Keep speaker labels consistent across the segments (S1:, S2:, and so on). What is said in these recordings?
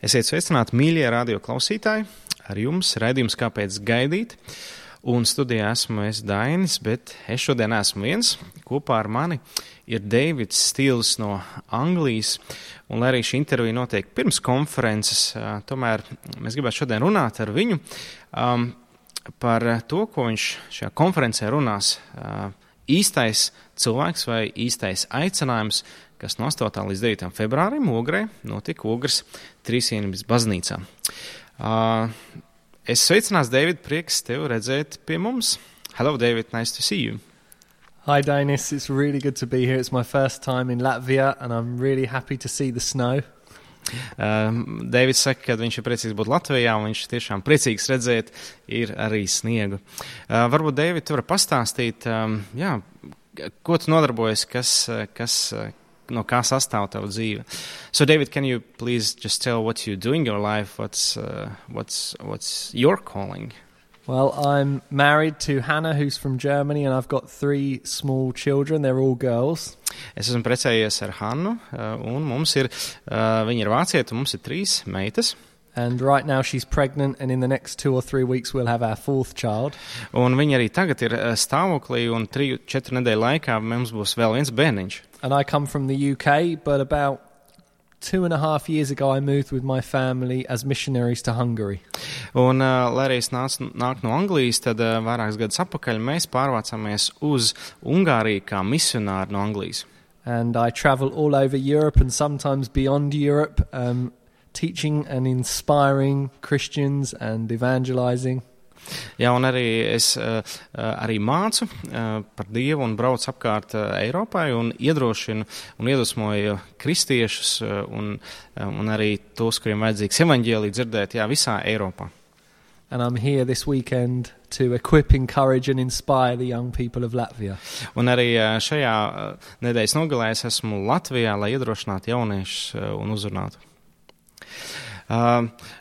S1: Esiet sveicināti, mīļie radio klausītāji! Ar jums raidījums Kāpēc gaidīt? Un studijā esmu es Dainis, bet es šodien esmu viens. Kopā ar mani ir Deivids Stīls no Anglijas. Un, lai arī šī intervija notiek pirms konferences, ā, tomēr mēs gribētu šodien runāt ar viņu um, par eh, to, ko viņš šajā konferencē runās. ā, īstais cilvēks vai īstais aicinājums, kas no 8. līdz 9. februārim Ogrē notika Ogres Trīsienības baznīcā. Uh, es sveicināts, David, prieks tevi redzēt pie mums. Hello, David, nice to see you.
S2: Hi, Danis. It's really good to be here. It's my first time in Latvia, and I'm really happy to see the snow.
S1: Um, Deivids saka, ka viņš ir priecīgs būt Latvijā, un viņš tiešām priecīgs redzēt, ir arī sniegu. Uh, varbūt, Deivid, tu vari pastāstīt, um, jā, k- ko tu nodarbojies, kas, uh, kas, uh, no kā sastāv tava dzīve. So, David, can you please just tell what you do in your life, what's, uh, what's, what's your calling?
S2: Well, I'm married to Hannah, who's from Germany, and I've got three small children. They're all girls.
S1: Es esmu precējies ar Hannu, uh, un mums ir, uh, viņa ir vācieta, un mums ir trīs meitas.
S2: And right now she's pregnant, and in the next two or three weeks, we'll have our fourth child.
S1: Un viņa arī tagad ir eh, stāvoklī, un triju, četru nedēļu laikā mums būs vēl viens bērniņš.
S2: And I come from the UK, but about two and a half years ago, I moved with my family as missionaries to Hungary.
S1: Un, eh, lai arī es nācu nāk no Anglijas, tad eh, vairākus gadus atpakaļ mēs pārvācāmies uz Ungāriju kā misionāri no Anglijas.
S2: And I travel all over Europe and sometimes beyond Europe, um, teaching and inspiring Christians and evangelizing.
S1: Jā, un arī es eh, eh, arī mācu eh, par Dievu un braucu apkārt eh, Eiropai un iedrošinu un iedvesmoju kristiešus eh, un, eh, un arī tos, kuriem vajadzīgs evaņģēlī dzirdēt, jā, visā Eiropā.
S2: And I'm here this weekend to equip, encourage, and inspire the young people of Latvia.
S1: Un arī eh, šajā eh, nedēļas nogalē es esmu Latvijā, lai iedrošinātu jauniešus eh, un uzrunātu. Eh,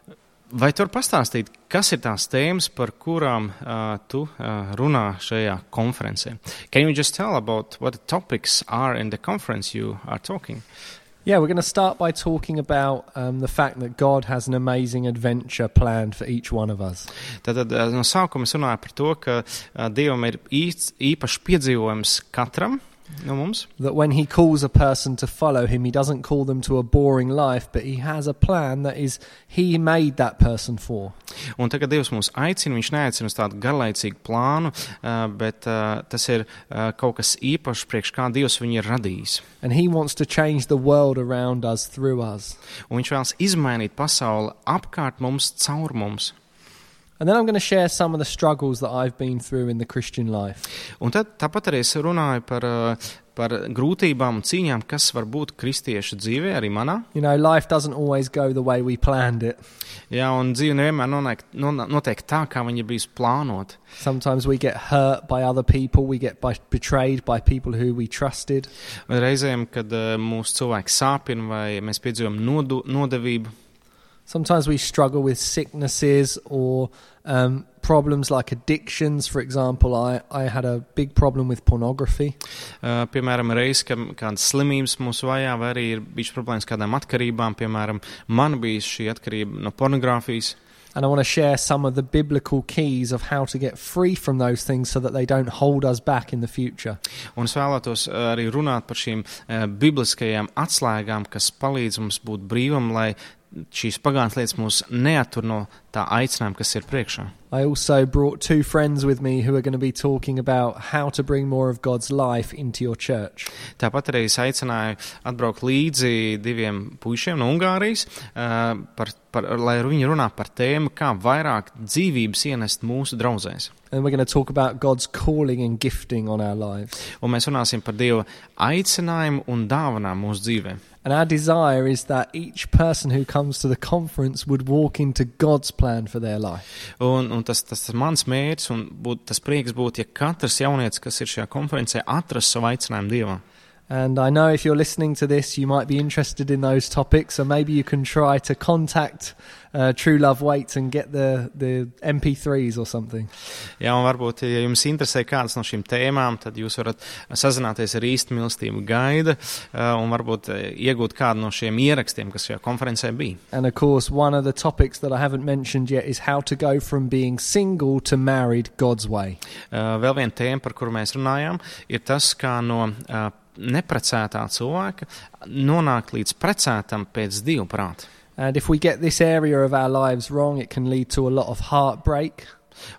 S1: Vai tu vari pastāstīt, kas ir tās tēmas, par kurām uh, tu uh, runā šajā konferencē? Can you just tell about what the topics are in the conference you are talking?
S2: Yeah, we're going to start by talking about um, the fact that God has an amazing adventure planned for each one of us.
S1: Tātad eh, no sākuma es runāju par to, ka uh, Dievam ir īsts, īpašs piedzīvojums katram no mums.
S2: That when He calls a person to follow Him, He doesn't call them to a boring life, but He has a plan that is He made that person for.
S1: Un tagad Dievs mūs aicina, Viņš neaicina uz tādu garlaicīgu plānu, eh, bet eh, tas ir eh, kaut kas īpašs, priekš kā Dievs viņu ir radījis.
S2: And He wants to change the world around us through us.
S1: Un viņš vēlas izmainīt pasauli apkārt mums, caur mums.
S2: And then I'm going to share some of the struggles that I've been through in the Christian life.
S1: Un tad, tāpat arī es runāju par, eh, par grūtībām un cīņām, kas var būt kristiešu dzīvē, arī manā.
S2: You know, life doesn't always go the way we planned it.
S1: Jā, un dzīve nevienmēr nonāk- non- notiek tā, kā viņa bija plānota.
S2: Sometimes we get hurt by other people, we get by, betrayed by people who we trusted.
S1: Vai Reizēm, kad eh, mūsu cilvēks sāpina vai mēs piedzīvojam nodu- nodevību,
S2: Sometimes we struggle with sicknesses or um, problems like addictions. For example, I, I had a big problem with pornography.
S1: Uh, piemēram, reizes, kad kādas slimības mūs vajā, vai arī ir bijušas problēmas ar kādām atkarībām. Piemēram, man bija šī atkarība no pornogrāfijas.
S2: And I want to share some of the biblical keys of how to get free from those things so that they don't hold us back in the future.
S1: Un es vēlētos uh, arī runāt par šīm uh, bibliskajām atslēgām, kas palīdz mums būt brīvam, lai šīs pagātnes lietas mūs neatur no tā aicinājuma, kas ir priekšā.
S2: I also brought two friends with me who are going to be talking about how to bring more of God's life into your church.
S1: Tāpat arī es aicināju atbraukt līdzi diviem puišiem no Ungārijas, uh, par, par, lai viņi runā par tēmu, kā vairāk dzīvības ienest mūsu draugzēs.
S2: And we're going to talk about God's calling and gifting on our lives.
S1: un mēs runāsim par Dieva aicinājumu un dāvanām mūsu dzīvē.
S2: And our desire is that each person who comes to the conference would walk into God's plan for their life.
S1: Un, un tas, tas, tas mans mērķis un būt, tas prieks būtu, ja katrs jaunietis, kas ir šajā konferencē, atrastu savu aicinājumu Dievam.
S2: And I know if you're listening to this, you might be interested in those topics. So maybe you can try to contact uh, True Love Waits and get the, the MP3s or something.
S1: Jā, un varbūt, ja jums interesē kādas no šīm tēmām, tad jūs varat sazināties ar īstu milstību gaida uh, un varbūt uh, iegūt kādu no šiem ierakstiem, kas šajā konferencē bija.
S2: And of course, one of the topics that I haven't mentioned yet is how to go from being single to married God's way.
S1: Uh, Vēl viena tēma, par kuru mēs runājām, ir tas, kā no uh, neprecētā cilvēka nonākt līdz precētam pēc divu prātu.
S2: And if we get this area of our lives wrong, it can lead to a lot of heartbreak.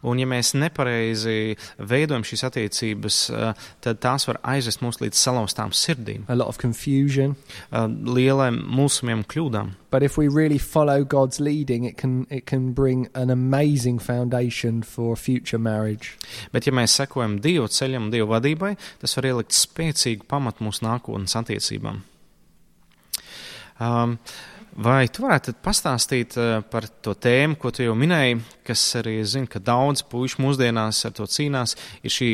S1: Un, ja mēs nepareizi veidojam šīs attiecības, uh, tad tās var aizvest mūs līdz salauztām sirdīm,
S2: A lot of confusion,
S1: uh, lieliem mūsumiem kļūdām.
S2: but if we really follow God's leading, it can it can bring an amazing foundation for future marriage.
S1: Bet, ja mēs sekojam Dieva ceļam, Dieva vadībai, tas var ielikt spēcīgu pamatu mūsu nākotnes attiecībām. Um, vai tu varētu tad pastāstīt uh, par to tēmu, ko tu jau minēji, kas arī zina, ka daudz puikas mūsdienās ar to cīnās, ir šī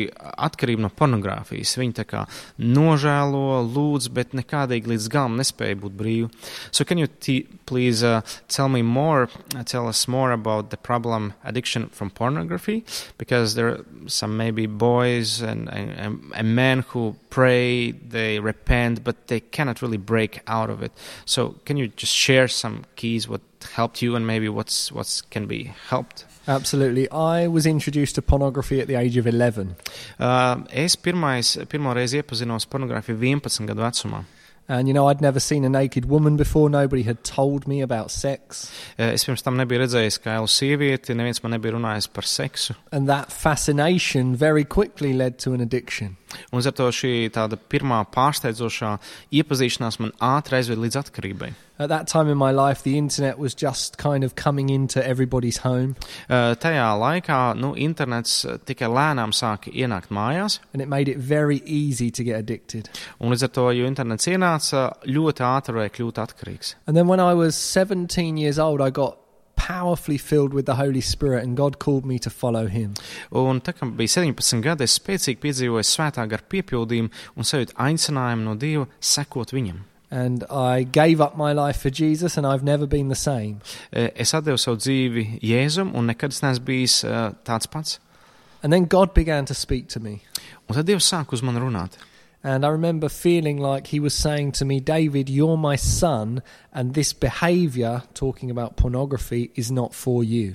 S1: atkarība no pornogrāfijas. Viņi tā kā nožēlo, lūdz, bet nekādīgi līdz galam nespēja būt brīvi. So can you t- please uh, tell me more, uh, tell us more about the problem addiction from pornography? Because there are some maybe boys and, and, and- and men who pray, they repent, but they cannot really break out of it. So can you just share some keys what helped you and maybe what's what's can be helped?
S2: Absolutely, I was introduced to pornography at the age of eleven,
S1: Uh, es pirmais, pirmo reizi iepazinos pornogrāfiju 11 gadu vecumā.
S2: and you know I'd never seen a naked woman before. Nobody had told me about sex,
S1: Uh, Es pirms tam nebiju redzējis, kā jau sievieti, neviens man nebija runājis par seksu.
S2: and that fascination very quickly led to an addiction.
S1: Un līdz ar to šī tāda pirmā pārsteidzošā iepazīšanās man ātri aizveda līdz atkarībai.
S2: At that time in my life, the internet was just kind of coming into everybody's home,
S1: Uh, tajā laikā nu, internets uh, tikai lēnām sāka ienākt mājās,
S2: and it made it very easy to get addicted.
S1: un līdz ar to, jo internets ienāca, ļoti ātri varēja kļūt atkarīgs.
S2: And then when I was 17 years old, I got powerfully filled with the Holy Spirit, and God called me to follow Him.
S1: Un tā kā bija 17 gadi, es spēcīgi piedzīvoju svētā gara piepildījumu un sajūtu aicinājumu no Dieva sekot viņam.
S2: And I gave up my life for Jesus, and I've never been the same.
S1: Uh, Es atdevu savu dzīvi Jēzum, un nekad es neesmu bijis uh, tāds pats.
S2: And then God began to speak to me.
S1: Un tad Dievs sāk uz mani runāt. E,
S2: And I remember feeling like He was saying to me, David, you're my son, and this behavior, talking about pornography, is not for you.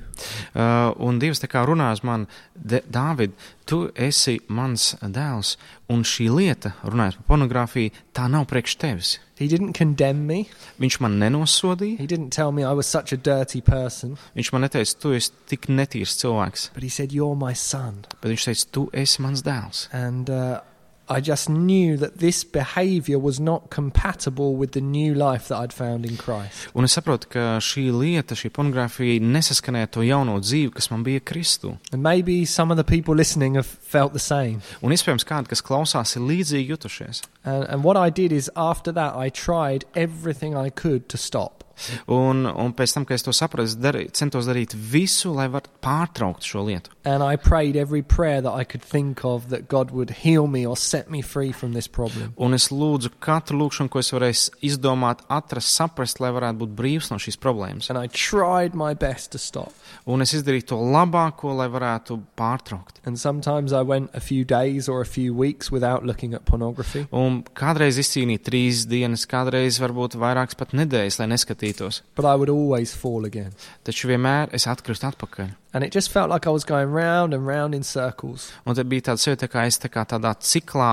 S1: Uh, un Dievs tā kā runā uz mani, "De- Dāvid, tu esi mans dēls, un šī lieta, runājot par pornogrāfiju, tā nav priekš tevis.
S2: He didn't condemn me.
S1: Viņš man nenosodīja,
S2: He didn't tell me I was such a dirty person,
S1: viņš man neteica, tu esi tik netīrs cilvēks,
S2: but He said, You're my son.
S1: bet viņš teica, tu esi mans dēls.
S2: And uh, I just knew that this behavior was not compatible with the new life that I'd found in Christ.
S1: Un es saprotu, ka šī lieta, šī pornogrāfija nesaskanēja ar to jauno dzīvi, kas man bija Kristu.
S2: And maybe some of the people listening have felt the same.
S1: Un iespējams, kādi, kas klausās, ir līdzīgi jutušies.
S2: And, and what I did is, after that, I tried everything I could to stop.
S1: Un, un pēc tam, kad es to sapratu, es darī, centos darīt visu, lai varētu pārtraukt šo lietu.
S2: And I prayed every prayer that I could think of that God would heal me or set me free from this problem.
S1: Un es lūdzu katru lūkšanu, ko es varēju izdomāt, atrast, saprast, lai varētu būt brīvs no šīs problēmas.
S2: And I tried my best to stop.
S1: Un es izdarīju to labāko, lai varētu pārtraukt.
S2: And sometimes I went a few days or a few weeks without looking at pornography.
S1: Un kādreiz izcīnīju trīs dienas, kādreiz varbūt vairākas pat nedēļas, lai neskatītos.
S2: But I would always fall again.
S1: Taču vienmēr es atkrītu atpakaļ.
S2: And it just felt like I was going round and round in circles.
S1: Un tad bija tāds sajūta, ka es tā kā tādā ciklā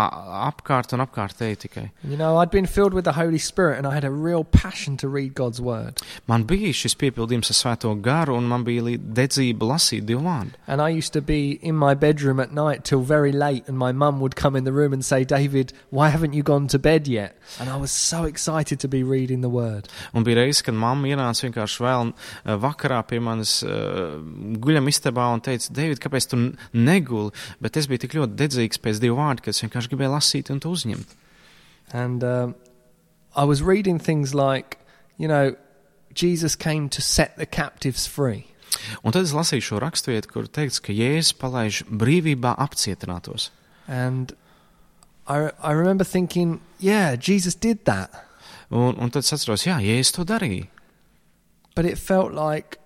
S1: apkārt un apkārt eju tikai.
S2: You know, I'd been filled with the Holy Spirit and I had a real passion to read God's Word.
S1: Man bija šis piepildījums ar svēto garu, un man bija lī- dedzība lasīt Dievu vārdu.
S2: And I used to be in my bedroom at night till very late, and my mum would come in the room and say, David, why haven't you gone to bed yet? And I was so excited to be reading the Word.
S1: Un bija reizes, kad mamma ienāca vienkārši vēl eh, vakarā pie manis uh, guļamistabā un teica, Deivid, kāpēc tu n- neguli? Bet es biju tik ļoti dedzīgs pēc divu vārdu, ka es vienkārši gribēju lasīt un to uzņemt.
S2: And um, I was reading things like, you know, Jesus came to set the captives free.
S1: Un tad es lasīju šo raksturvietu, kur teikts, ka Jēzus palaiž brīvībā apcietinātos.
S2: And I, I remember thinking, yeah, Jesus did that.
S1: Un, un tad es atceros, jā, ja es to darīju.
S2: But it felt like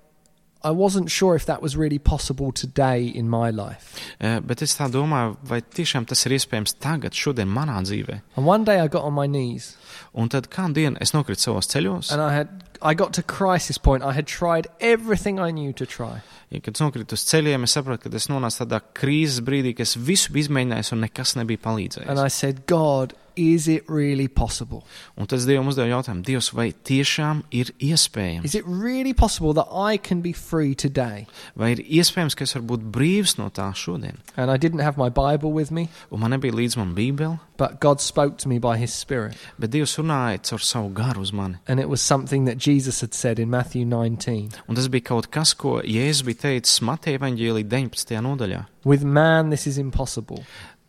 S2: I wasn't sure if that was really possible today in my life.
S1: Eh, Bet es tā domāju, vai tiešām tas ir iespējams tagad, šodien, manā dzīvē.
S2: And one day I got on my knees
S1: Un tad kādu dienu es nokritu savos ceļos,
S2: and I had I got to crisis point. I had tried everything I knew to try.
S1: ja, kad es nokritu uz ceļiem, es sapratu, ka es nonācu tādā krīzes brīdī, ka es visu biju izmēģinājis un nekas nebija
S2: And
S1: palīdzējis.
S2: I said, God, is it really possible?
S1: Un tad es Dievam uzdevu jautājumu, Dievs, vai tiešām ir iespējams?
S2: Is it really possible that I can be free today?
S1: Vai ir iespējams, ka es varu būt brīvs no tā šodien?
S2: And I didn't have my Bible with me,
S1: Un man nebija līdz man bībele,
S2: but God spoke to me by his spirit.
S1: bet Dievs runāja caur savu garu uz mani.
S2: And it was something that Jesus had said in Matthew 19.
S1: Un tas bija kaut kas, ko Jēzus bija teicis Mateja evaņģēlī 19. nodaļā.
S2: With man, this is impossible,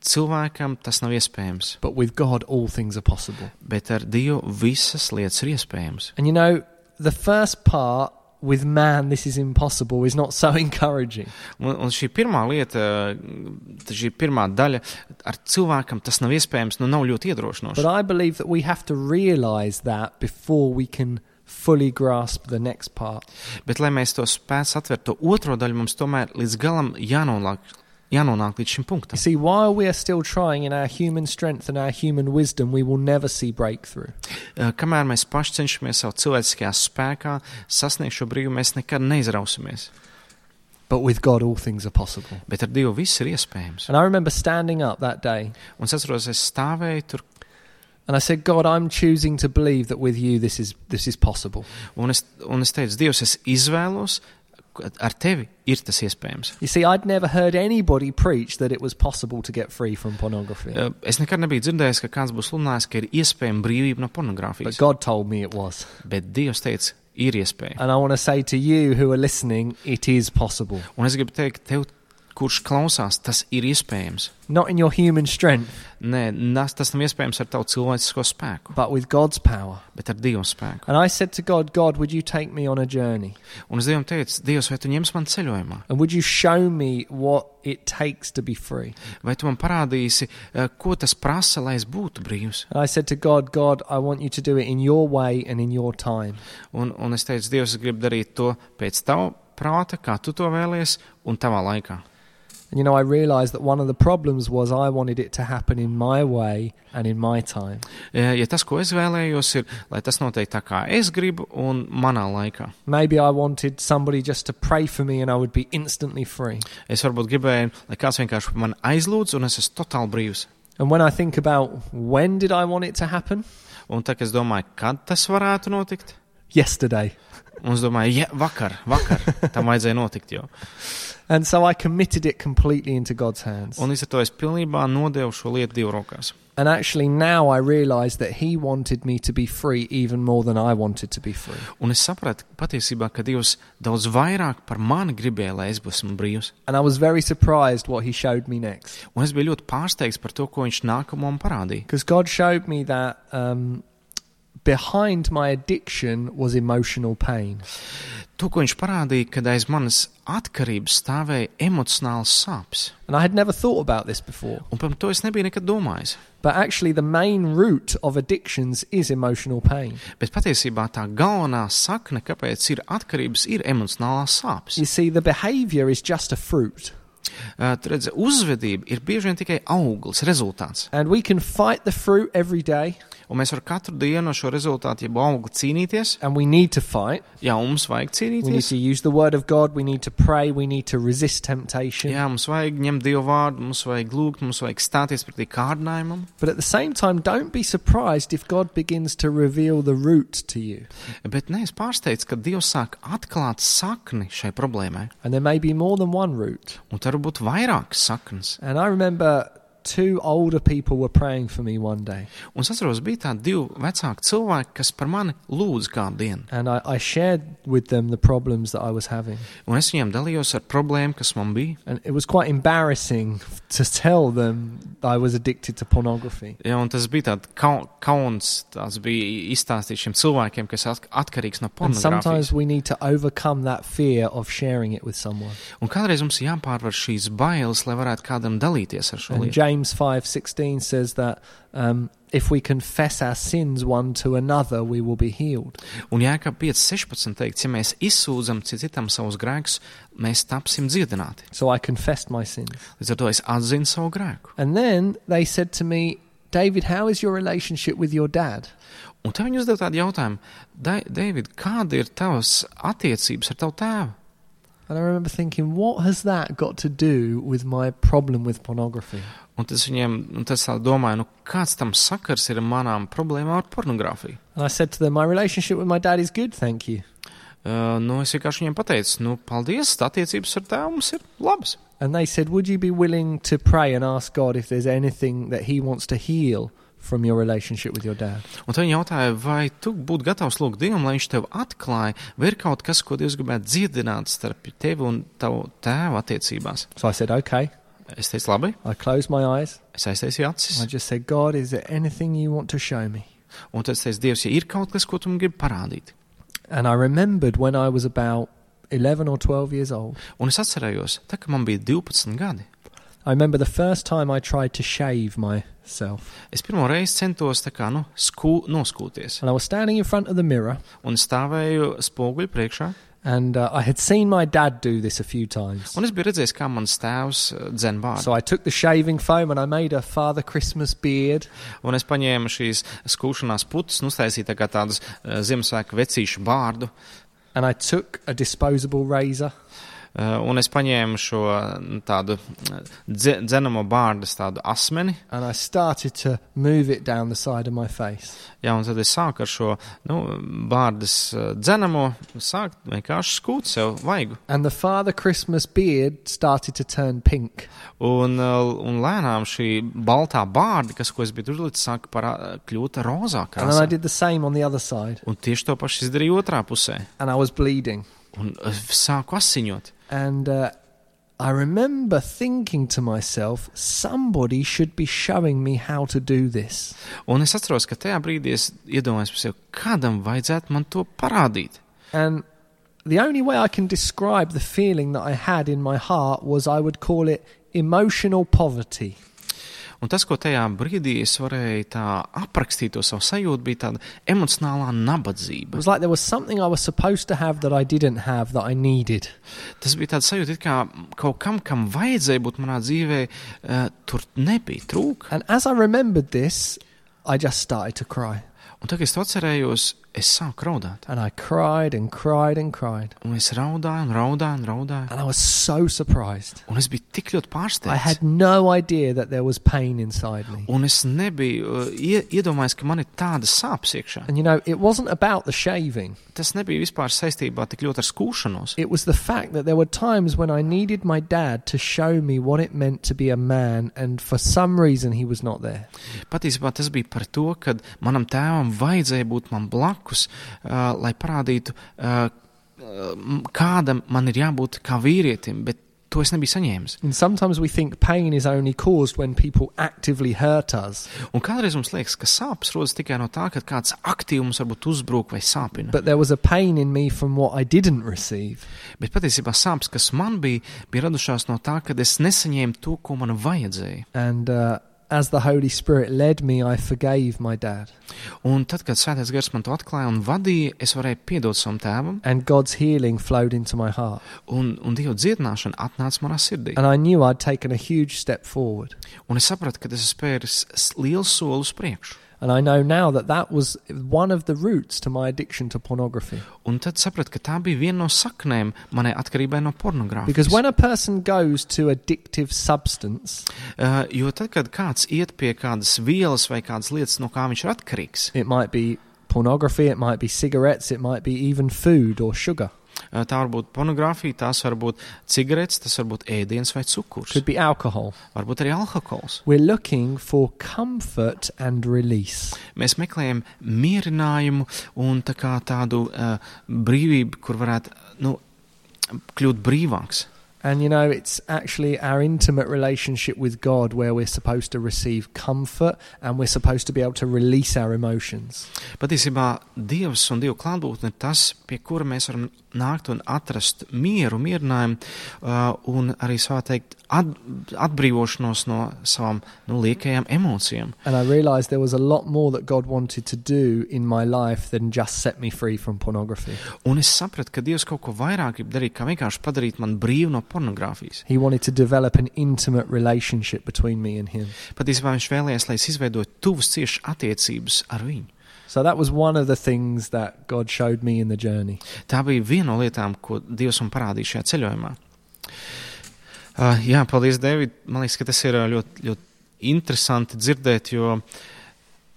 S1: Cilvēkam tas nav iespējams,
S2: but with God, all things are possible.
S1: bet ar Dievu visas lietas ir iespējams.
S2: And you know, the first part, with man, this is impossible, is not so encouraging.
S1: Un, un šī pirmā lieta, eh, šī pirmā daļa, ar cilvēkam tas nav iespējams, nu nav ļoti
S2: But
S1: iedrošinoša.
S2: I believe that we have to realize that before we can fully grasp the next part.
S1: Bet, lai mēs to spētu atvērt, to otro daļu mums tomēr līdz galam jānonāk, jānonāk līdz šim punktam.
S2: You see, while we are still trying in our human strength and our human wisdom, we will never see breakthrough.
S1: Eh, Kamēr mēs paši cenšamies savu cilvēciskajā spēkā sasniegt šo brīvu, mēs nekad neizrausimies.
S2: But with God, all things are possible.
S1: Bet ar Dievu viss ir iespējams.
S2: And I remember standing up that day
S1: Un es atceros, es stāvēju tur
S2: and I said, God, I'm choosing to believe that with you this is, this is possible.
S1: un es, un es teicu, Dievs, es izvēlos, ka ar tevi ir tas iespējams.
S2: You see, I'd never heard anybody preach that it was possible to get free from pornography.
S1: Eh, Es nekad nebiju dzirdējis, ka kāds būs sludinājis, ka ir iespējama brīvība no pornogrāfijas.
S2: But God told me it was.
S1: Bet Dievs teica, ir iespēja.
S2: And I want to say to you who are listening, it is possible.
S1: Un es gribu teikt, tev, kurš klausās, tas ir iespējams.
S2: Not in your human strength,
S1: Nē, nas, tas nav iespējams ar tavu cilvēcisko spēku,
S2: but with God's power.
S1: bet ar Dieva spēku.
S2: And I said to God, God, would you take me on a journey?
S1: Un es Dievam teicu, Dievs, vai tu ņems man ceļojumā?
S2: And would you show me what it takes to be free?
S1: Vai tu man parādīsi, eh, ko tas prasa, lai es būtu brīvs?
S2: And I said to God, God, I want you to do it in your way and in your time.
S1: Un, un es teicu, Dievs, es gribu darīt to pēc tava prāta, kā tu to vēlies, un tavā laikā.
S2: And you know, I realized that one of the problems was I wanted it to happen in my way and in my time.
S1: Eh, Ja tas, ko es vēlējos, ir, lai tas notiek tā, kā es gribu, un manā laikā.
S2: Maybe I wanted somebody just to pray for me and I would be instantly free.
S1: Es varbūt gribēju, lai kāds vienkārši man aizlūdz, un es esmu totāli brīvs.
S2: And when I think about when did I want it to happen?
S1: Un tā, kad es domāju, kad tas varētu notikt,
S2: Yesterday.
S1: un es domāju, ja vakar, vakar tam vajadzēja notikt jau.
S2: And so I committed it completely into God's hands.
S1: Un līdz ar to es pilnībā nodevu šo lietu divu rokās.
S2: And actually, now I realize that He wanted me to be free even more than I wanted to be free.
S1: Un es sapratu patiesībā, ka Dievs daudz vairāk par mani gribēja, lai es būtu brīvs.
S2: And I was very surprised what He showed me next.
S1: Un es biju ļoti pārsteigts par to, ko viņš nākamo man parādīja.
S2: Because God showed me that um, behind my addiction was emotional pain.
S1: To, ko viņš parādīja, kad aiz manas atkarības stāvēja emocionāls sāpes.
S2: And I had never thought about this before.
S1: Un par to es nebiju nekad domājis.
S2: But actually, the main root of addictions is emotional pain.
S1: Bet patiesībā tā galvenā sakne, kāpēc ir atkarības, ir emocionālās sāpes.
S2: You see, the behavior is just a fruit.
S1: Uh, tu redzi, uzvedība ir bieži vien tikai auglis, rezultāts.
S2: And we can fight the fruit every day,
S1: Un mēs varam katru dienu ar šo rezultātu, jeb augli cīnīties.
S2: and we need to fight.
S1: Jā, mums vajag
S2: We need
S1: cīnīties.
S2: to use the word of God. We need to pray. We need to resist temptation.
S1: Jā, mums vajag ņemt dievu vārdu, mums vajag lūgt, mums vajag stāties pretī kārdinājumam.
S2: But at the same time, don't be surprised if God begins to reveal the root to you.
S1: Bet nē, es pārsteidzu, ka Dievs sāk atklāt sakni šai problēmai.
S2: And there may be more than one root.
S1: Un tur var būt vairākas saknes.
S2: And I remember two older people were praying for me one day.
S1: Un es atceros, bija tādi divi vecāki cilvēki, kas par mani lūdz kādu dienu.
S2: And I, I shared with them the problems that I was having.
S1: Un es viņiem dalījos ar problēmu, kas man bija.
S2: And it was quite embarrassing to tell them I was addicted to pornography.
S1: Jā, un tas bija tāds kau, kauns, tas bija izstāstīts šiem cilvēkiem, kas at, atkarīgs no
S2: And
S1: pornogrāfijas.
S2: sometimes we need to overcome that fear of sharing it with someone.
S1: Un kādreiz mums jāpārvar šīs bailes, lai varētu kādam dalīties ar šo
S2: And
S1: lietu.
S2: James five sixteen says that um, if we confess our sins one to another, we will be healed.
S1: Un Jēkab 5.16 teikts, ja mēs izsūdzam ci- citam savus grēkus, mēs tapsim dziedināti.
S2: So I confessed my sins.
S1: Līdz ar to es atzinu savu grēku.
S2: And then they said to me, David, how is your relationship with your dad?
S1: Un tad viņi uzdev tādu jautājumu, "Dai- Deivid, kāda ir tavas attiecības ar tavu tēvu?
S2: And I remember thinking, what has that got to do with my problem with pornography?
S1: Un tas viņiem, un tas tā domāja, nu kāds tam sakars ir ar manām problēmām ar pornogrāfiju?
S2: And I said to them, my relationship with my dad is good, thank you.
S1: Uh, nu, es vienkārši viņiem pateicu, nu, paldies, attiecības ar tēvu mums ir labas.
S2: And they said, would you be willing to pray and ask God if there's anything that He wants to heal from your relationship with your dad?
S1: Un tad viņi jautāja, vai tu būtu gatavs lūgt Dievam, lai viņš tev atklāja, vai ir kaut kas, ko Dievs gribētu dziedināt starp tevi un tavu tēvu attiecībās.
S2: So I said, okay.
S1: Es teicu, labi,
S2: I closed my eyes.
S1: es aiztaisīju acis,
S2: I just said, God, is there anything you want to show me?
S1: un tad es teicu, Dievs, ja ir kaut kas, ko tu man gribi parādīt.
S2: And I remembered when I was about 11 or 12 years old.
S1: Un es atcerējos, tā kā man bija 12 gadi,
S2: I remember the first time I tried to shave myself.
S1: es pirmo reizi centos tā kā, nu, skū, noskūties.
S2: And I was standing in front of the mirror,
S1: Un stāvēju spoguļu priekšā,
S2: and uh, I had seen my dad do this a few times.
S1: un es biju redzējis, kā mans tēvs eh, dzen vārdu.
S2: So I took the shaving foam and I made a Father Christmas beard.
S1: Un es paņēmu šīs skūšanās putas, un uztaisīju tā kā tādas eh, Ziemassvētku vecīšu bārdu.
S2: And I took a disposable razor
S1: Uh, un es paņēmu šo nu, tādu uh, dze- dzenamo bārdas tādu asmeni,
S2: and I started to move it down the side of my face.
S1: jā, un tad es sāku ar šo nu, bārdas uh, dzenamo, sāku vienkārši skūt sev vaigu.
S2: And the Father Christmas beard started to turn pink.
S1: Un, uh, un lēnām šī baltā bārda, kas, ko es biju uzlicis, sāka parā- kļūt rozākā.
S2: And then I did the same on the other side,
S1: Un tieši to pašu izdarīju otrā pusē.
S2: and I was bleeding.
S1: Un es sāku asiņot.
S2: And uh, I remember thinking to myself, somebody should be showing me how to do this.
S1: Un es atceros, ka tajā brīdī es iedomājos par sevi, kādam vajadzētu man to parādīt.
S2: And the only way I can describe the feeling that I had in my heart was I would call it emotional poverty.
S1: Un tas, ko tajā brīdī es varēju tā aprakstīt, to savu sajūtu, bija tāda emocionālā
S2: It
S1: nabadzība.
S2: was like there was something I was supposed to have that I didn't have that I needed.
S1: Tas bija tāds sajūta, it kā kaut kam, kam vajadzēja būt manā dzīvē, eh, tur nebija trūka.
S2: And as I remembered this, I just started to cry.
S1: Un tagad, kad es to atcerējos, es sāku raudāt.
S2: And I cried and cried and cried.
S1: Un es raudāju, un raudāju, un raudāju.
S2: And I was so surprised.
S1: Un es biju tik ļoti
S2: I
S1: pārsteigts.
S2: had no idea that there was pain inside me.
S1: Un es nebiju eh, ie- iedomājies, ka man ir tāda sāpes iekšā.
S2: And you know, it wasn't about the shaving.
S1: Tas nebija vispār saistībā tik ļoti ar skūšanos.
S2: It was the fact that there were times when I needed my dad to show me what it meant to be a man, and for some reason he was not there.
S1: Patiesībā tas bija par to, ka manam tēvam vajadzēja būt man blakus, uh, lai parādītu, uh, kādam man ir jābūt kā vīrietim, bet to es nebiju saņēmis.
S2: And sometimes we think pain is only caused when people actively hurt us,
S1: Un kādreiz mums liekas, ka sāpes rodas tikai no tā, ka kāds aktīvi mums varbūt uzbrūk vai sāpina. Bet,
S2: but there was a pain in me from what I didn't receive.
S1: bet patiesībā sāpes, kas man bija, bija radušās no tā, ka es nesaņēmu to, ko man vajadzēja.
S2: And uh, as the Holy Spirit led me, I forgave my dad.
S1: Un tad, kad Svētais Gars man to atklāja un vadīja, es varēju piedot savam tēvam,
S2: And God's healing flowed into my heart.
S1: un, un Dieva dziedināšana atnāca manā sirdī.
S2: And I knew I'd taken a huge step forward.
S1: Un es sapratu, ka tas ir spēris s- liels solis priekšu.
S2: And I know now that that was one of the roots to my addiction to pornography.
S1: Un tad sapratu, ka tā bija viena no saknēm manai atkarībai no
S2: Because
S1: pornogrāfijas.
S2: when a person goes to addictive substance,
S1: Uh, jo tad, kad kāds iet pie kādas vielas vai kādas lietas, no kā viņš ir atkarīgs,
S2: it might be pornography, it might be cigarettes, it might be even food or sugar,
S1: uh, tā var būt pornogrāfija, tās var būt cigaretes, tas var būt ēdiens vai cukurs,
S2: could be alcohol.
S1: varbūt arī alkohols.
S2: We're looking for comfort and release.
S1: Mēs meklējam mierinājumu un tā eh, kā tādu uh, brīvību, kur varētu nu, kļūt brīvāks.
S2: And you know, it's actually our intimate relationship with God where we're supposed to receive comfort and we're supposed to be able to release our emotions.
S1: Patiesībā Dievs un Dieva klātbūtne ir tas, pie kura mēs varam nākt un atrast mieru, mierinājumu uh, un arī, tā teikt, at, atbrīvošanos no savām nu, liekajām emocijām.
S2: And I realized there was a lot more that God wanted to do in my life than just set me free from pornography.
S1: Un es sapratu, ka Dievs kaut ko vairāk grib darīt, kā vienkārši padarīt mani brīvu no pornogrāfijas.
S2: He wanted to develop an intimate relationship between me and Him.
S1: Patiesībā viņš vēlējās, lai es izveidotu tuvas ciešas attiecības ar viņu.
S2: So that was one of the things that God showed me in the journey.
S1: Tā bija viena no lietām, ko Dievs man parādīja šajā ceļojumā. Uh, jā, paldies, Dēvid. Man liekas, ka tas ir ā, ļoti, ļoti interesanti dzirdēt, jo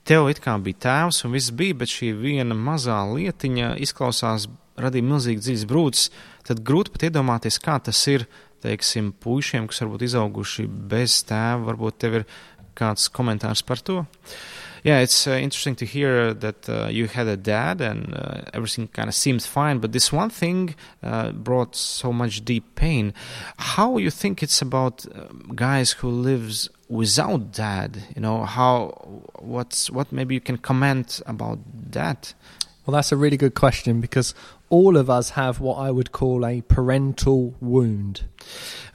S1: tev it kā bija tēvs un viss bija, bet šī viena mazā lietiņa izklausās, radīja milzīgi dziļas brūces. Tad grūti pat iedomāties, kā tas ir, teiksim, puišiem, kas varbūt izauguši bez tēva. Varbūt tev ir kāds komentārs par to. Yeah, it's uh, interesting to hear that uh, you had a dad and uh, everything kind of seemed fine, but this one thing uh, brought so much deep pain. How you think it's about um, guys who lives without dad? You know how what's what maybe you can comment about that?
S2: Well, that's a really good question because all of us have what I would call a parental wound.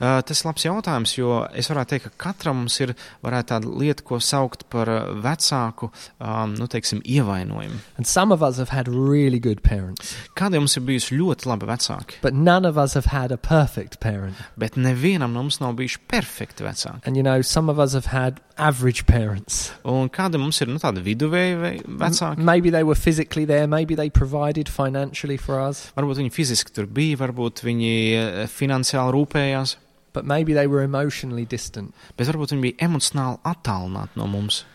S1: Uh, tas ir labs jautājums, jo es varētu teikt, ka katram mums ir varētu tāda lieta, ko saukt par uh, vecāku, um, nu, teiksim, ievainojumu.
S2: And some of us have had really good parents,
S1: Kādiem mums ir bijusi ļoti labi vecāki,
S2: but none of us have had a perfect parent.
S1: bet nevienam no mums nav bijuši perfekti vecāki.
S2: And you know, some of us have had average parents.
S1: Un kādi mums ir nu, tādi viduvēji vai vecāki?
S2: M- Maybe they were physically there, maybe they provided financially for us,
S1: Varbūt viņi fiziski tur bija, varbūt viņi eh, finansiāli rūpējās,
S2: but maybe they were emotionally distant.
S1: bet varbūt viņi bija emocionāli attālināti no mums.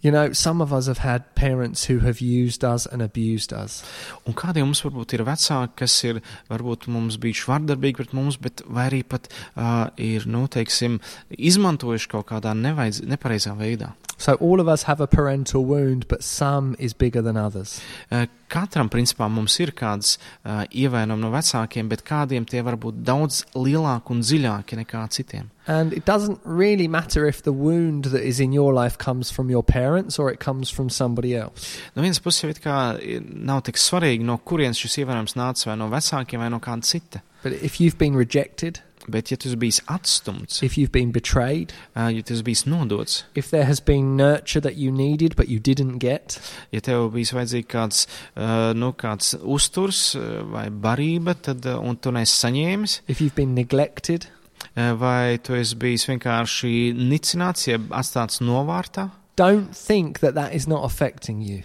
S2: You know, some of us have had parents who have used us and abused us.
S1: Un kādiem mums varbūt ir vecāki, kas ir varbūt mums bijuši vardarbīgi pret mums, bet vai arī pat uh, ir, nu, teiksim, izmantojuši kaut kādā nevajadz, nepareizā veidā.
S2: So all of us have a parental wound, but some is bigger than others.
S1: Uh, katram, principā, mums ir kāds uh, ievainojums no vecākiem, bet kādiem tie var būt daudz lielāki un dziļāki nekā citiem.
S2: And it doesn't really matter if the wound that is in your life comes from your parents or it comes from somebody else.
S1: No vienas puses jau it kā ir- nav tik svarīgi, no kurienes šis ievainojums nāca, vai no vecākiem, vai no kāda cita.
S2: But if you've been rejected,
S1: Bet, ja tu esi bijis atstumts,
S2: if you've been betrayed,
S1: uh, ja tu esi bijis nodots,
S2: if there has been nurture that you needed but you didn't get,
S1: Ja tev bija vajadzīgs kāds, uh, nu, kāds uzturs uh, vai barība, tad, uh, un tu neesi saņēmis,
S2: if you've been neglected,
S1: uh, vai tu esi bijis vienkārši nicināts, jeb atstāts novārtā,
S2: don't think that that is not affecting you.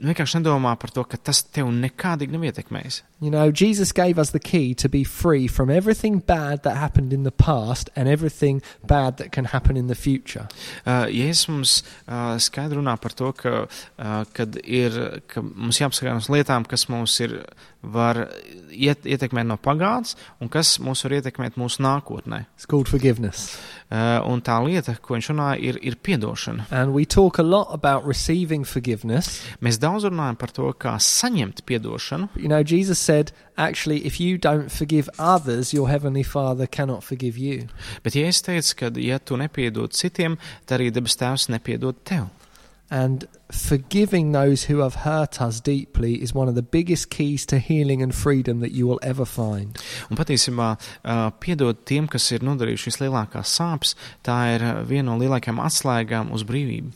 S1: vienkārši nedomā par to, ka tas tev nekādīgi nav ietekmējis.
S2: You know, Jesus gave us the key to be free from everything bad that happened in the past and everything bad that can happen in the future.
S1: Uh, Jēzus mums uh, skaidri runā par to, ka, uh, kad ir, ka mums jāapskatās uz lietām, kas mums ir, var iet, ietekmēt no pagātnes un kas mūs var ietekmēt mūsu nākotnē.
S2: It's called forgiveness.
S1: Uh, un tā lieta, ko viņš runā, ir, ir piedošana.
S2: And we talk a lot about receiving forgiveness.
S1: Mēs daudz runājam par to, kā saņemt atdošanu,
S2: But you know, Jesus said, actually, if you don't forgive others, your heavenly Father cannot forgive you.
S1: bet ja es teicu, ka, ja tu nepiedod citiem, tad arī debes Tēvs nepiedod tev.
S2: And forgiving those who have hurt us deeply is one of the biggest keys to healing and freedom that you will ever find.
S1: Un patiesībā, ā, piedot tiem, kas ir nodarījuši vislielākās sāpes, tā ir ā, viena no lielākajām atslēgām uz brīvību.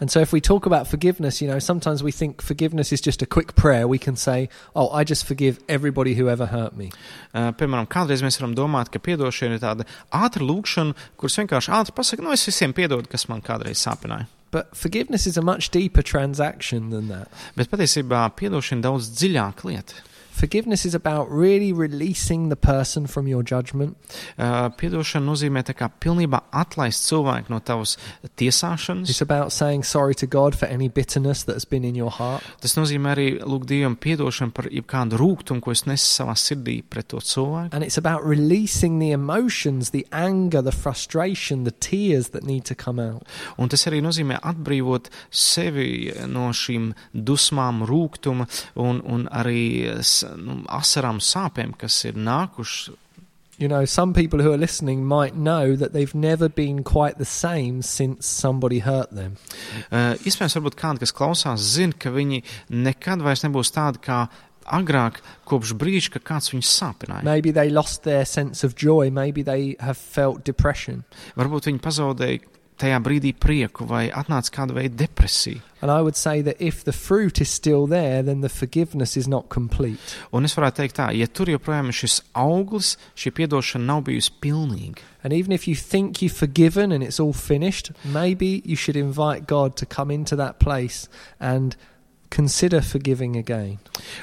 S2: And so, if we talk about forgiveness, you know, sometimes we think forgiveness is just a quick prayer. We can say, Oh, I just forgive everybody who ever hurt me.
S1: Ā, Eh, Piemēram, kādreiz mēs varam domāt, ka atdošana ir tāda ātra lūkšana, kuras vienkārši ātri pasakā, no es visiem piedodu, kas man kādreiz sāpināja.
S2: But forgiveness is a much deeper transaction than that.
S1: Bet patiesībā atdošana ir daudz dziļāka lieta.
S2: Forgiveness is about really releasing the person from your judgment.
S1: Eh, Piedošana nozīmē tā kā pilnībā atlaist cilvēku no tavas tiesāšanas.
S2: It's about saying sorry to God for any bitterness that has been in your heart.
S1: Tas nozīmē arī lūgt Dievam atdošanu par jebkādu rūkumu, ko es nesu savā sirdī pret to cilvēku.
S2: And it's about releasing the emotions, the anger, the frustration, the tears that need to come out.
S1: Un tas arī nozīmē atbrīvot sevi no šīm dusmām, rūkuma un, un arī s- nu, asarām sāpēm, kas ir nākušas
S2: you know, some people who are listening might know that they've never been quite the same since somebody hurt them.
S1: Uh, iespējams, varbūt kādi, kas klausās, zina, ka viņi nekad vairs nebūs tādi kā agrāk, kopš brīža, kad kāds viņus sāpināja.
S2: Maybe they lost their sense of joy. Maybe they have felt depression.
S1: Varbūt viņi pazaudēja tajā brīdī prieku vai atnāca kāda veida depresija.
S2: And I would say that if the fruit is still there, then the forgiveness is not complete.
S1: Un es varētu teikt, tā, ja tur joprojām ir šis auglis, šī atdošana nav bijusi pilnīga.
S2: And even if you think you've forgiven and it's all finished, maybe you should invite God to come into that place and consider forgiving again.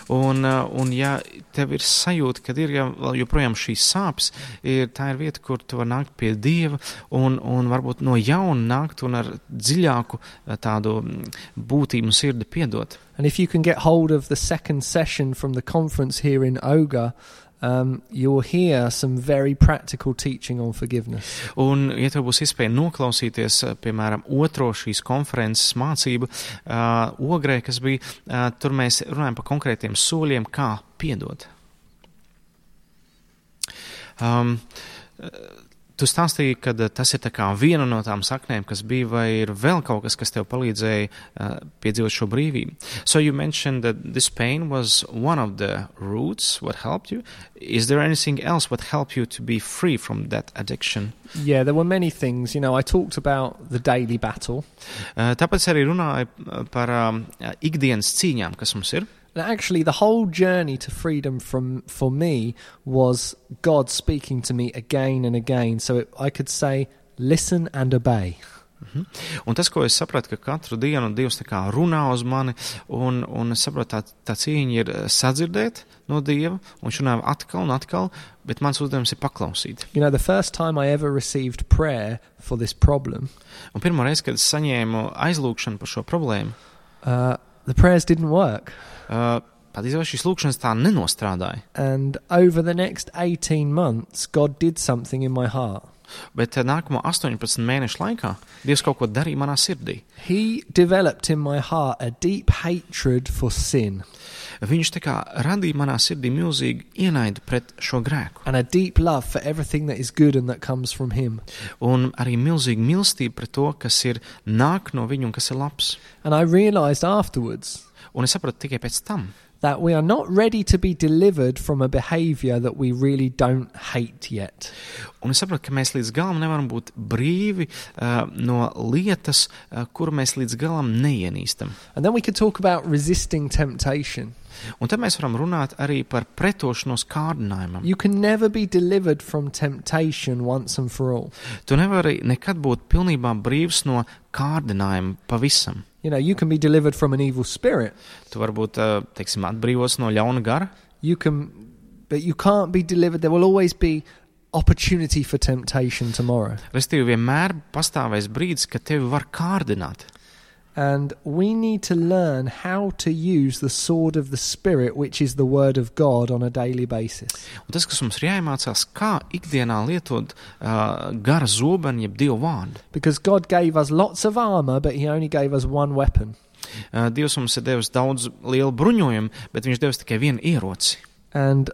S1: Un, uh, un ja tev ir sajūta, ka ir jau, vēl joprojām šīs sāpes, ir, tā ir vieta, kur tu vari nākt pie Dieva un, un varbūt no jauna nākt un ar dziļāku uh, tādu mm, būtību un sirdi piedot.
S2: And if you can get hold of the second session from the conference here in Oga, um, you'll hear some very practical teaching on forgiveness.
S1: Un, ja tev būs iespēja noklausīties, eh, piemēram, otro šīs konferences mācību uh, ogrē, kas bija, uh, tur mēs runājam par konkrētiem soļiem, kā piedot. Um, eh, tu stāstīji, ka eh, tas ir tā kā viena no tām saknēm, kas bija, vai ir vēl kaut kas, kas tev palīdzēja uh, piedzīvot šo brīvību. So you mentioned that this pain was one of the roots what helped you. Is there anything else what helped you to be free from that addiction?
S2: Yeah, there were many things. You know, I talked about the daily battle.
S1: Uh, Tāpēc arī runāju uh, par um, ikdienas cīņām, kas mums ir.
S2: And actually, the whole journey to freedom from for me was God speaking to me again and again. So it, I could say, listen and obey.
S1: Un tas, ko es sapratu, ka katru dienu Dievs tā kā runā uz mani, un, un es saprotu, tā, tā cīņa ir eh, sadzirdēt no Dieva, un viņš runā atkal un atkal, bet mans uzdevums ir paklausīt.
S2: You know, the first time I ever received prayer for this problem,
S1: Un pirmā reize, kad es saņēmu aizlūgšanu par šo problēmu,
S2: uh, the prayers didn't work.
S1: uh, patiesībā šīs lūkšanas tā nenostrādāja.
S2: And over the next 18 months, God did something in my heart.
S1: Bet eh, nākamo 18 mēnešu laikā Dievs kaut ko darīja manā sirdī.
S2: He developed in my heart a deep hatred for sin
S1: Viņš tā kā radīja manā sirdī milzīgu ienaidu pret šo grēku.
S2: and a deep love for everything that is good and that comes from Him.
S1: un arī milzīga mīlestība pret to, kas ir nāk no viņa un kas ir labs.
S2: And I realized afterwards
S1: Un es sapratu tikai pēc tam,
S2: that we are not ready to be delivered from a behavior that we really don't hate yet.
S1: un es sapratu, ka mēs līdz galam nevaram būt brīvi uh, no lietas, uh, kuru mēs līdz galam neienīstam.
S2: And then we could talk about resisting temptation.
S1: Un tad mēs varam runāt arī par pretošanos kārdinājumam.
S2: You can never be delivered from temptation once and for all.
S1: Tu nevari nekad būt pilnībā brīvs no kārdinājuma pavisam.
S2: You know, you can be delivered from an evil spirit.
S1: Tu varbūt, uh, teiksim, atbrīvos no ļauna gara,
S2: You can but you can't be delivered. There will always be opportunity for temptation tomorrow.
S1: respektīvi vienmēr pastāvēs brīdis, kad tevi var kārdināt.
S2: And we need to learn how to use the sword of the Spirit, which is the Word of God, on a daily basis.
S1: Un tas, kas mums ir jāiemācās, kā ikdienā lietot uh, gara zobenu, jeb dievu vārdu.
S2: Because God gave us lots of armor, but He only gave us one weapon.
S1: Uh, Dievs mums ir devis daudz lielu bruņojumu, bet viņš devis tikai vienu ieroci.
S2: And,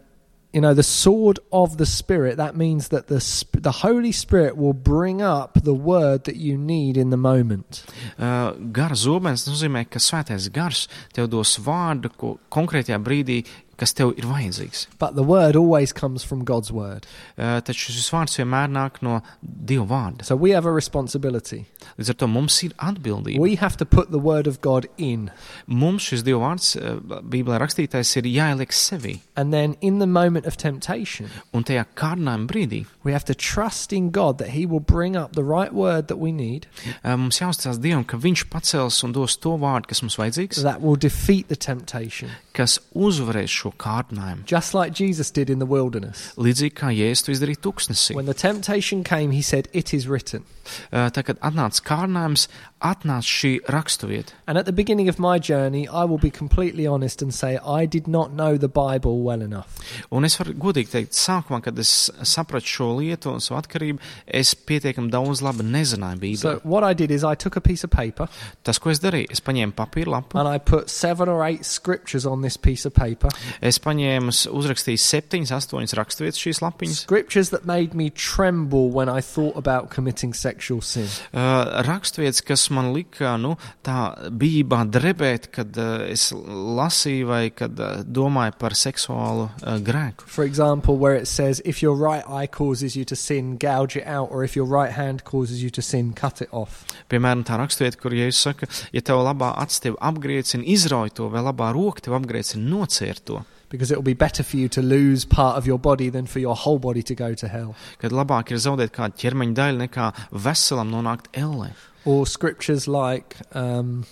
S2: you know, the sword of the Spirit, that means that the, sp- the Holy Spirit will bring up the word that you need in the moment.
S1: Uh, gara zobens tas nozīmē, ka svētais gars tev dos vārdu ko, konkrētajā brīdī, kas tev ir vajadzīgs.
S2: But the word always comes from God's word.
S1: Uh, taču šis vārds vienmēr nāk no dieva vārda.
S2: So we have a responsibility.
S1: Līdz ar to mums ir atbildība.
S2: We have to put the word of God in.
S1: Mums šis dieva vārds, uh, Bībelē rakstītais, ir jāieliek sevi.
S2: And then in the moment of temptation,
S1: Un tajā kārdinājuma brīdī
S2: we have to trust in God that He will bring up the right word that we need
S1: Uh, Mums jāuzticas Dievam, ka Viņš pacels un dos to vārdu, kas mums vajadzīgs,
S2: that will defeat the temptation,
S1: kas uzvarēs šo kārdinājumu.
S2: just like Jesus did in the wilderness.
S1: Līdzīgi kā Jēzus to izdarīja tūkstnesī.
S2: When the temptation came, he said, It is written.
S1: Uh, Tā kad atnāca kārdinājums, atnāca šī raksturvieta.
S2: And at the beginning of my journey, I will be completely honest and say, I did not know the Bible well enough.
S1: Un es varu godīgi teikt, sākumā, kad es sapratu šo lietu un savu atkarību, es pietiekami daudz labi nezināju
S2: So,
S1: Bībeli.
S2: what I did is I took a piece of paper Ah.
S1: Tas, ko es darīju, es paņēmu papīru lapu.
S2: and I put seven or eight scriptures on this piece of paper.
S1: Es paņēmu, uzrakstīju septiņas, astoņas raksturvietas šīs lapiņas.
S2: Scriptures that made me tremble when I thought about committing sexual sin.
S1: Uh, raksturvietas, kas man lika nu, tā bībā drebēt, kad uh, es lasīju vai kad uh, domāju par seksuālu uh, grēku.
S2: For example, where it says, if your right eye causes you to sin, gouge it out, or if your right hand causes you to sin, cut it off.
S1: Piemēram, tā raksturvieta, kur Jēzus saka, ja tev labā acis tevi apgriezina, izrauj to, vai labā roka tevi apgriezina, nociet to.
S2: Because it will be better for you to lose part of your body than for your whole body to go to hell.
S1: Kad labāk ir zaudēt kādu ķermeņa daļu, nekā veselam nonākt ellē.
S2: Or scriptures like, um,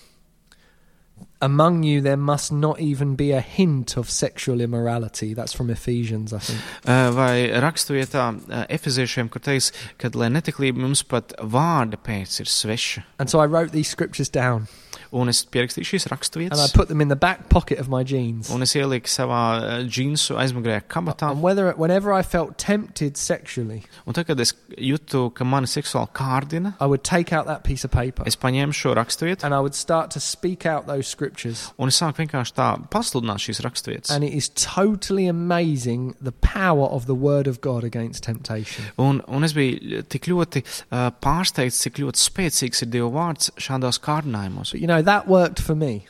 S2: among you there must not even be a hint of sexual immorality. That's from Ephesians, I think.
S1: Uh, Vai raksturvietā uh, efeziešiem, kur teiks, ka lai netiklība mums pat vārda pēc ir sveša.
S2: And so I wrote these scriptures down
S1: Un es pierakstīju šīs
S2: and I
S1: raksturvietas,
S2: put them in the back pocket of my jeans.
S1: un es ieliku savā uh, džinsu aizmugurējā kabatā.
S2: And Um, whether whenever I felt tempted sexually,
S1: Un tad, kad es jūtu, ka mani seksuāli kārdina,
S2: I would take out that piece of paper
S1: es paņēmu šo raksturvietu
S2: and I would start to speak out those scriptures.
S1: un es sāku vienkārši tā pasludināt šīs raksturvietas.
S2: And it is totally amazing the power of the word of God against temptation.
S1: Un, un es biju eh, tik ļoti uh, pārsteigts, cik ļoti spēcīgs ir Dieva vārds šādos kārdinājumos.
S2: But you know, that worked for me.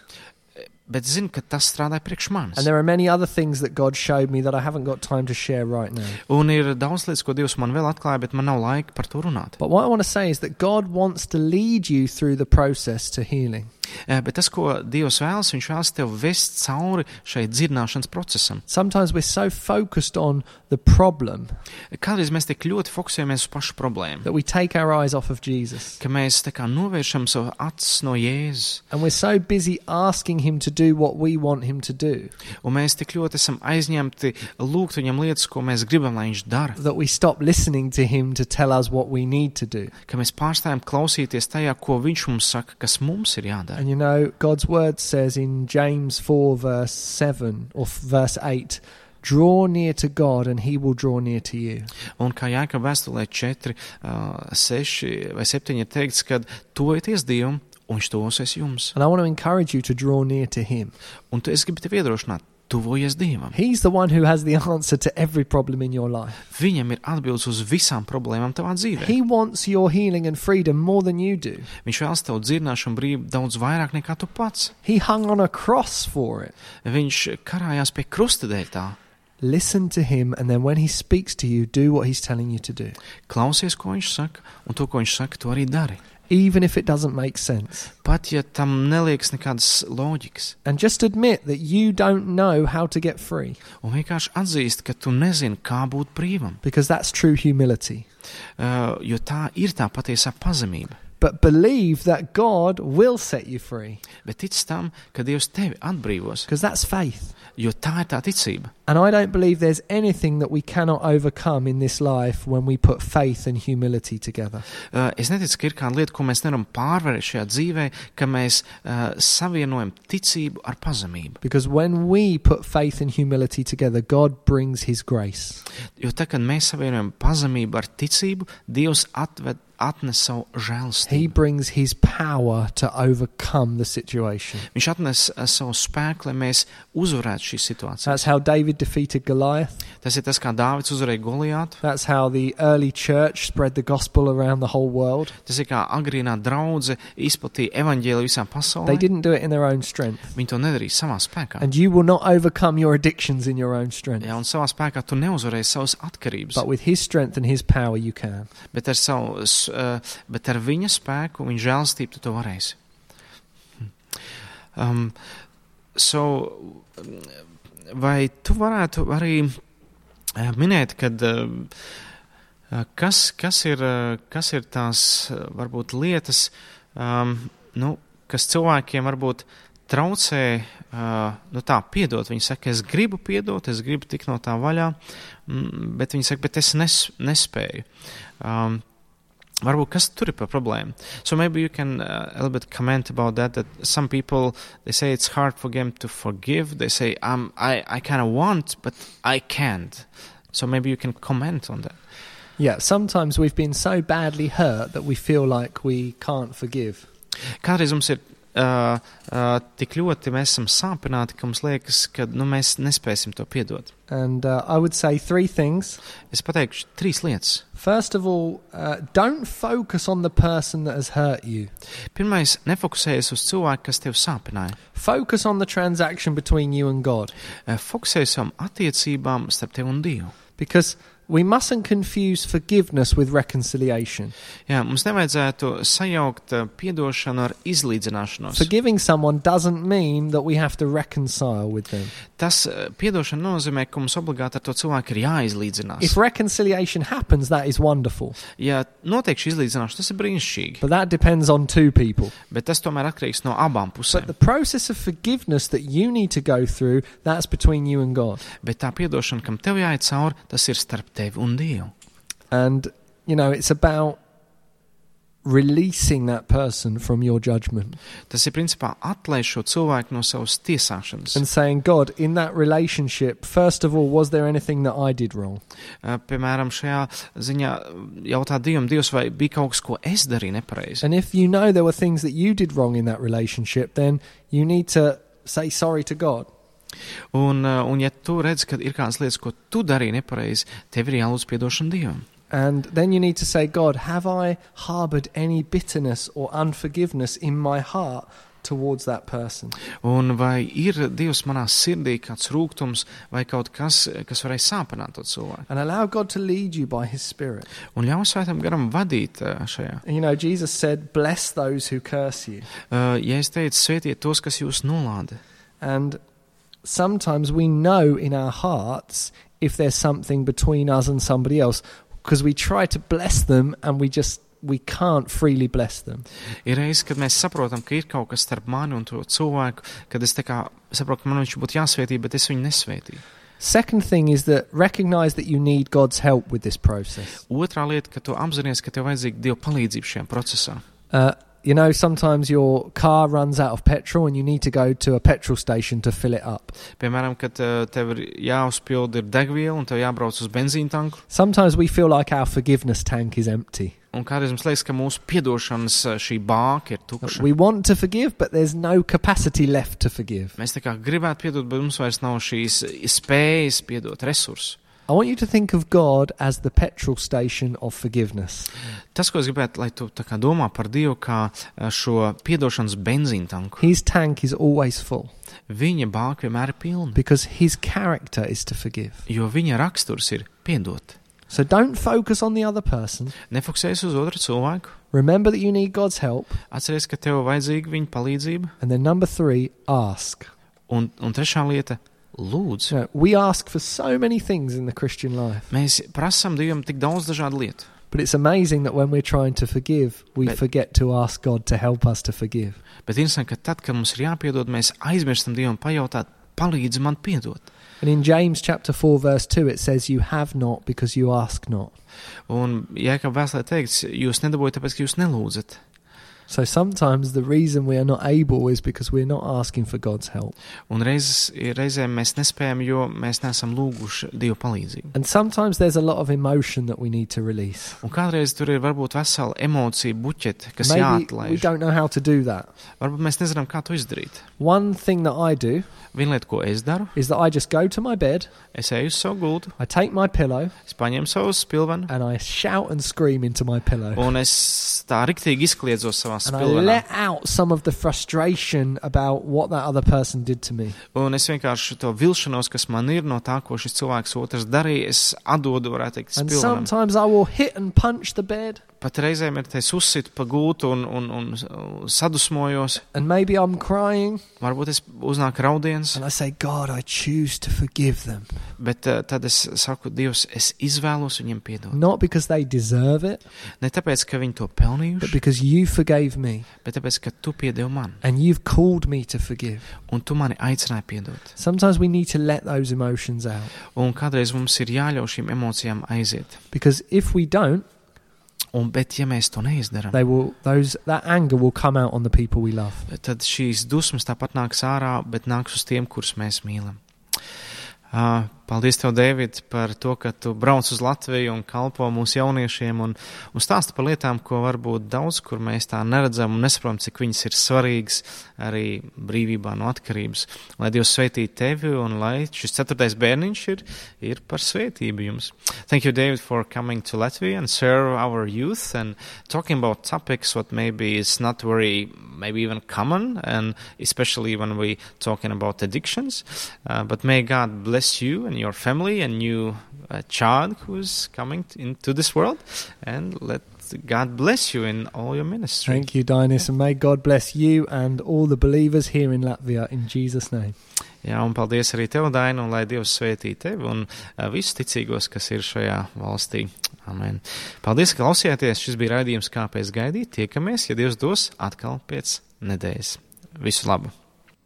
S1: Bet zinu, ka tas strādāja priekš manis.
S2: And there are many other things that God showed me that I haven't got time to share right now.
S1: Un ir daudz lietas, ko Dievs man vēl atklāja, bet man nav laika par to runāt.
S2: But what I want to say is that God wants to lead you through the process to healing.
S1: Eh, Bet tas, ko Dievs vēlas, viņš vēlas tev vest cauri šai dzirdināšanas procesam.
S2: Sometimes we're so focused on the problem
S1: Kādreiz mēs tik ļoti fokusējamies uz pašu problēmu,
S2: that we take our eyes off of Jesus.
S1: ka mēs tā kā novēršam savu acis no jēzus,
S2: And we're so busy asking Him to do what we want Him to do
S1: un mēs tik ļoti esam aizņemti lūgt viņam lietas, ko mēs gribam, lai viņš dara,
S2: that we stop listening to Him to tell us what we need to do.
S1: ka mēs pārstājam klausīties tajā, ko viņš mums saka, kas mums ir jādara.
S2: And you know, God's word says in James 4, verse 7 or f- verse 8, draw near to God and he will draw near to you.
S1: Un kā Jāka vēstulē 4, ah, 6 vai 7 ir teikts, ka tojieties Dievam, un viņš tosies jums.
S2: And I want to encourage you to draw near to him.
S1: Un tu, es gribu tevi iedrošināt, tuvojies Dievam.
S2: He's the one who has the answer to every problem in your life.
S1: Viņam ir atbildes uz visām problēmām tavā dzīvē.
S2: He wants your healing and freedom more than you do.
S1: Viņš vēlas tev dzirdināšanu brīvību daudz vairāk nekā tu pats.
S2: He hung on a cross for it.
S1: Viņš karājās pie krusta dēļ tā.
S2: Listen to him, and then when he speaks to you, do what he's telling you to do,
S1: Klausies, ko viņš saka, un to, ko viņš saka, to arī dari.
S2: even if it doesn't make sense.
S1: Pat ja tam neliekas nekādas loģikas,
S2: And just admit that you don't know how to get free,
S1: un vienkārši atzīst, ka tu nezini, kā būt brīvam,
S2: because that's true humility.
S1: uh, jo tā ir tā patiesā pazemība.
S2: but believe that God will set you free
S1: Bet tic tam, ka Dievs tevi atbrīvos,
S2: because that's faith.
S1: jo tā ir tā ticība.
S2: And I don't believe there's anything that we cannot overcome in this life when we put faith and humility together.
S1: Uh, Es neticu, ka ir kāda lieta, ko mēs nevaram pārvarēt šajā dzīvē, ka mēs uh, savienojam ticību ar pazemību.
S2: Because when we put faith and humility together, God brings His grace.
S1: Jo tad, kad mēs savienojam pazemību ar ticību, Dievs atved, atnes savu
S2: He
S1: žēlstību.
S2: brings His power to overcome the situation.
S1: Viņš atnes uh, savu spēku, lai mēs uzvarētu šīs situācijas.
S2: That's how David defeated Goliath.
S1: Tas ir tas, kā Dāvids uzvarēja Goliātu.
S2: That's how the early church spread the gospel around the whole world.
S1: Tas ir kā agrīnā draudzene izplatīja evaņģēliju visā
S2: They
S1: pasaulē.
S2: didn't do it in their own strength.
S1: Viņi to nedarīja savā spēkā.
S2: And you will not overcome your addictions in your own strength.
S1: Jā, un savā spēkā tu neuzvarēji savas atkarības.
S2: But with his strength and his power, you can.
S1: Bet ar, savu, s- eh, bet ar viņa spēku, viņa žēlstību, tu to varēsi. Um, so, mm, vai tu varētu arī eh, minēt, kad, um, eh, kas, kas, ir, eh, kas ir tās eh, varbūt lietas, um, nu, kas cilvēkiem varbūt traucē, uh, nu tā, piedot. Viņi saka, es gribu piedot, es gribu tikt no tā vaļā, mm, bet viņi saka, bet es nes, nespēju. Um, Varbūt kas tur ir par problēmu. So maybe you can uh, a little bit comment about that. That some people they say it's hard for them to forgive. They say um, I I kind of want, but I can't. So maybe you can comment on that.
S2: Yeah, sometimes we've been so badly hurt that we feel like we can't forgive.
S1: Kādreiz mums ir uh, uh, tik ļoti mēs esam sāpināti, ka mums liekas, ka nu, mēs nespēsim to piedot.
S2: And uh, I would say three things.
S1: Es pateikšu trīs lietas.
S2: First of all, uh, don't focus on the person that has hurt you.
S1: Pirmais, nefokusējies uz cilvēku, kas tev sāpināja.
S2: Focus on the transaction between you and God.
S1: Uh, Fokusējies uz savām attiecībām starp tevi un Dievu.
S2: Because we mustn't confuse forgiveness with reconciliation.
S1: Jā, mums nevajadzētu sajaukt uh, piedošanu ar izlīdzināšanos.
S2: Forgiving someone doesn't mean that we have to reconcile with them.
S1: Tas uh, piedošana nozīmē, ka mums obligāti ar to cilvēku ir jāizlīdzinās.
S2: If reconciliation happens, that is wonderful.
S1: Ja notiek šī izlīdzināšana, tas ir brīnišķīgi,
S2: But that depends on two people.
S1: bet tas tomēr atkarīgs no abām
S2: But the
S1: pusēm.
S2: process of forgiveness that you need to go through, that's between you and God.
S1: Bet tā piedošana, kam tev jāiet cauri, tas ir starp tevi un Dievu.
S2: And, you know, it's about releasing that person from your judgment
S1: Tas ir principā atlaiž šo cilvēku no savas tiesāšanas.
S2: and saying, God, in that relationship, first of all, was there anything that I did wrong?
S1: Uh, Piemēram, šajā ziņā eh, jautā Dievam, Dievs, vai bija kaut kas, ko es darīju nepareizi?
S2: And if you know there were things that you did wrong in that relationship, then you need to say sorry to God.
S1: Un, uh, un ja tu redz, ka ir kādas lietas, ko tu darīji nepareizi, tev ir jālūdz piedošana Dievam.
S2: And then you need to say, God, have I harbored any bitterness or unforgiveness in my heart towards that person?
S1: Un vai ir Dievs manā sirdī kāds rūkums vai kaut kas, kas varēja sāpināt to cilvēku?
S2: And allow God to lead you by his Spirit.
S1: Un ļauj svētam garam vadīt uh, šajā.
S2: And, you know, Jesus said, Bless those who curse you.
S1: Uh, Ja es teicu, svētiet tos, kas jūs nolāda,
S2: And sometimes we know in our hearts if there's something between us and somebody else because we try to bless them and we just we can't freely bless them.
S1: ir reizes, kad mēs saprotam, ka ir kaut kas starp mani un to cilvēku, kad es tā kā saprotu, ka man viņš būtu jāsvētī, bet es viņu nesvētīju.
S2: Second thing is that recognize that you need God's help with this process.
S1: Otrā lieta, ka tu apzinājies, ka tev vajadzīga Dieva palīdzība šajā procesā.
S2: Uh, you know, sometimes your car runs out of petrol and you need to go to a petrol station to fill it up.
S1: Piemēram, kad uh, tev ir jāuzpilda ir degviela un tev jābrauc uz benzīna tanku,
S2: Sometimes we feel like our forgiveness tank is empty.
S1: un kādreiz mums liekas, ka mūsu piedošanas uh, šī bāka ir tukša.
S2: Uh, We want to forgive, but there's no capacity left to forgive.
S1: Mēs tā kā gribētu piedot, bet mums vairs nav šīs spējas piedot resursus.
S2: I want you to think of God as the petrol station of forgiveness.
S1: Tas, ko es gribētu, lai tu tā kā domā par Dievu, kā eh, šo piedošanas benzīna tanku,
S2: His tank is always full
S1: viņa bāka vienmēr ir pilna,
S2: because his character is to forgive.
S1: jo viņa raksturs ir piedot.
S2: So don't focus on the other person.
S1: Nefokusējies uz otru cilvēku,
S2: Remember that you need God's help.
S1: atceries, ka tev vajadzīga viņa palīdzība,
S2: And then number three, ask.
S1: un, un trešā lieta - lūdzu.
S2: You know, we ask for so many things in the Christian life,
S1: Mēs prasām Dievam tik daudz dažādu lietu.
S2: but it's amazing that when we're trying to forgive, we
S1: But-
S2: forget to ask God to help us to forgive.
S1: Bet interesanti, ka tad, kad mums ir jāpiedod, mēs aizmirstam Dievam pajautāt, palīdzi man piedot.
S2: And in James chapter 4 verse 2 it says you have not because you ask not.
S1: Un, ja kā vēstulē teikts, jūs nedabūjāt, tāpēc, ka jūs nelūdzat.
S2: So sometimes the reason we are not able is because we're not asking for God's help.
S1: Un reiz, reizēm mēs nespējam, jo mēs neesam lūguši Dieva palīdzību.
S2: And sometimes there's a lot of emotion that we need to release.
S1: Un kādreiz tur ir varbūt vesela emocija buķete, kas Maybe
S2: Maybe we
S1: jāatlaiž.
S2: don't know how to do that.
S1: Varbūt mēs nezinām, kā to izdarīt.
S2: One thing that I do
S1: Viena lieta, ko es daru,
S2: is that I just go to my bed,
S1: es eju uz savu gultu,
S2: I take my pillow,
S1: es paņemu savu spilvenu,
S2: and I shout and scream into my pillow.
S1: un es tā riktīgi izkliedzos savā
S2: and I
S1: spilvenā.
S2: let out some of the frustration about what that other person did to me.
S1: Un es vienkārši to vilšanos, kas man ir no tā, ko šis cilvēks otrs darīja, es atdodu, varētu teikt,
S2: And
S1: spilvenam.
S2: sometimes I will hit and punch the bed,
S1: Pat reizēm ir tas uzsit pa gultu un, un, un uh, sadusmojos.
S2: and maybe I'm crying,
S1: Varbūt es uznāku raudiens,
S2: and I say, God, I choose to forgive them.
S1: bet uh, tad es saku, Dievs, es izvēlos viņiem piedot.
S2: Not because they deserve it,
S1: Ne tāpēc, ka viņi to
S2: but
S1: pelnījuši,
S2: because you forgave me,
S1: bet tāpēc, ka tu piedevi man
S2: and you've called me to forgive.
S1: un tu mani aicināji piedot.
S2: Sometimes we need to let those emotions out,
S1: Un kādreiz mums ir jāļauj šīm emocijām aiziet.
S2: because if we don't,
S1: Un, bet, ja mēs to neizdarām,
S2: they will those that anger will come out on the people we love.
S1: tad šīs dusmas tāpat nāks ārā, bet nāks uz tiem, kurus mēs mīlam. Uh, Paldies, tev, Dēvid, par to, ka tu brauc uz Latviju un kalpo mūsu jauniešiem un, un stāsta par lietām, ko varbūt daudz, kur mēs tā neredzam un nesaprotam, cik viņas ir svarīgas arī brīvībā no atkarības. Lai Dievs sveitī tevi un lai šis ceturtais bērniņš ir, ir par svētību jums. Thank you, David, for coming to Latvia and serve our youth and talking about topics what maybe is not very, maybe even common, and especially when we talking about addictions. Uh, but may God bless you and your family and you uh, child who's coming t- into this world, and let God bless you in all your ministry.
S2: Thank you, Dinis, and may God bless you and all the believers here in Latvia in Jesus' name.
S1: Jā, un paldies arī tev, Daina, un lai Dievs svētī tevi un uh, visus ticīgos, kas ir šajā valstī. Amen. Paldies, ka klausījāties. Šis bija raidījums, kāpēc gaidīt. Tiekamies, ja Dievs dos atkal pēc nedēļas. Visu labu!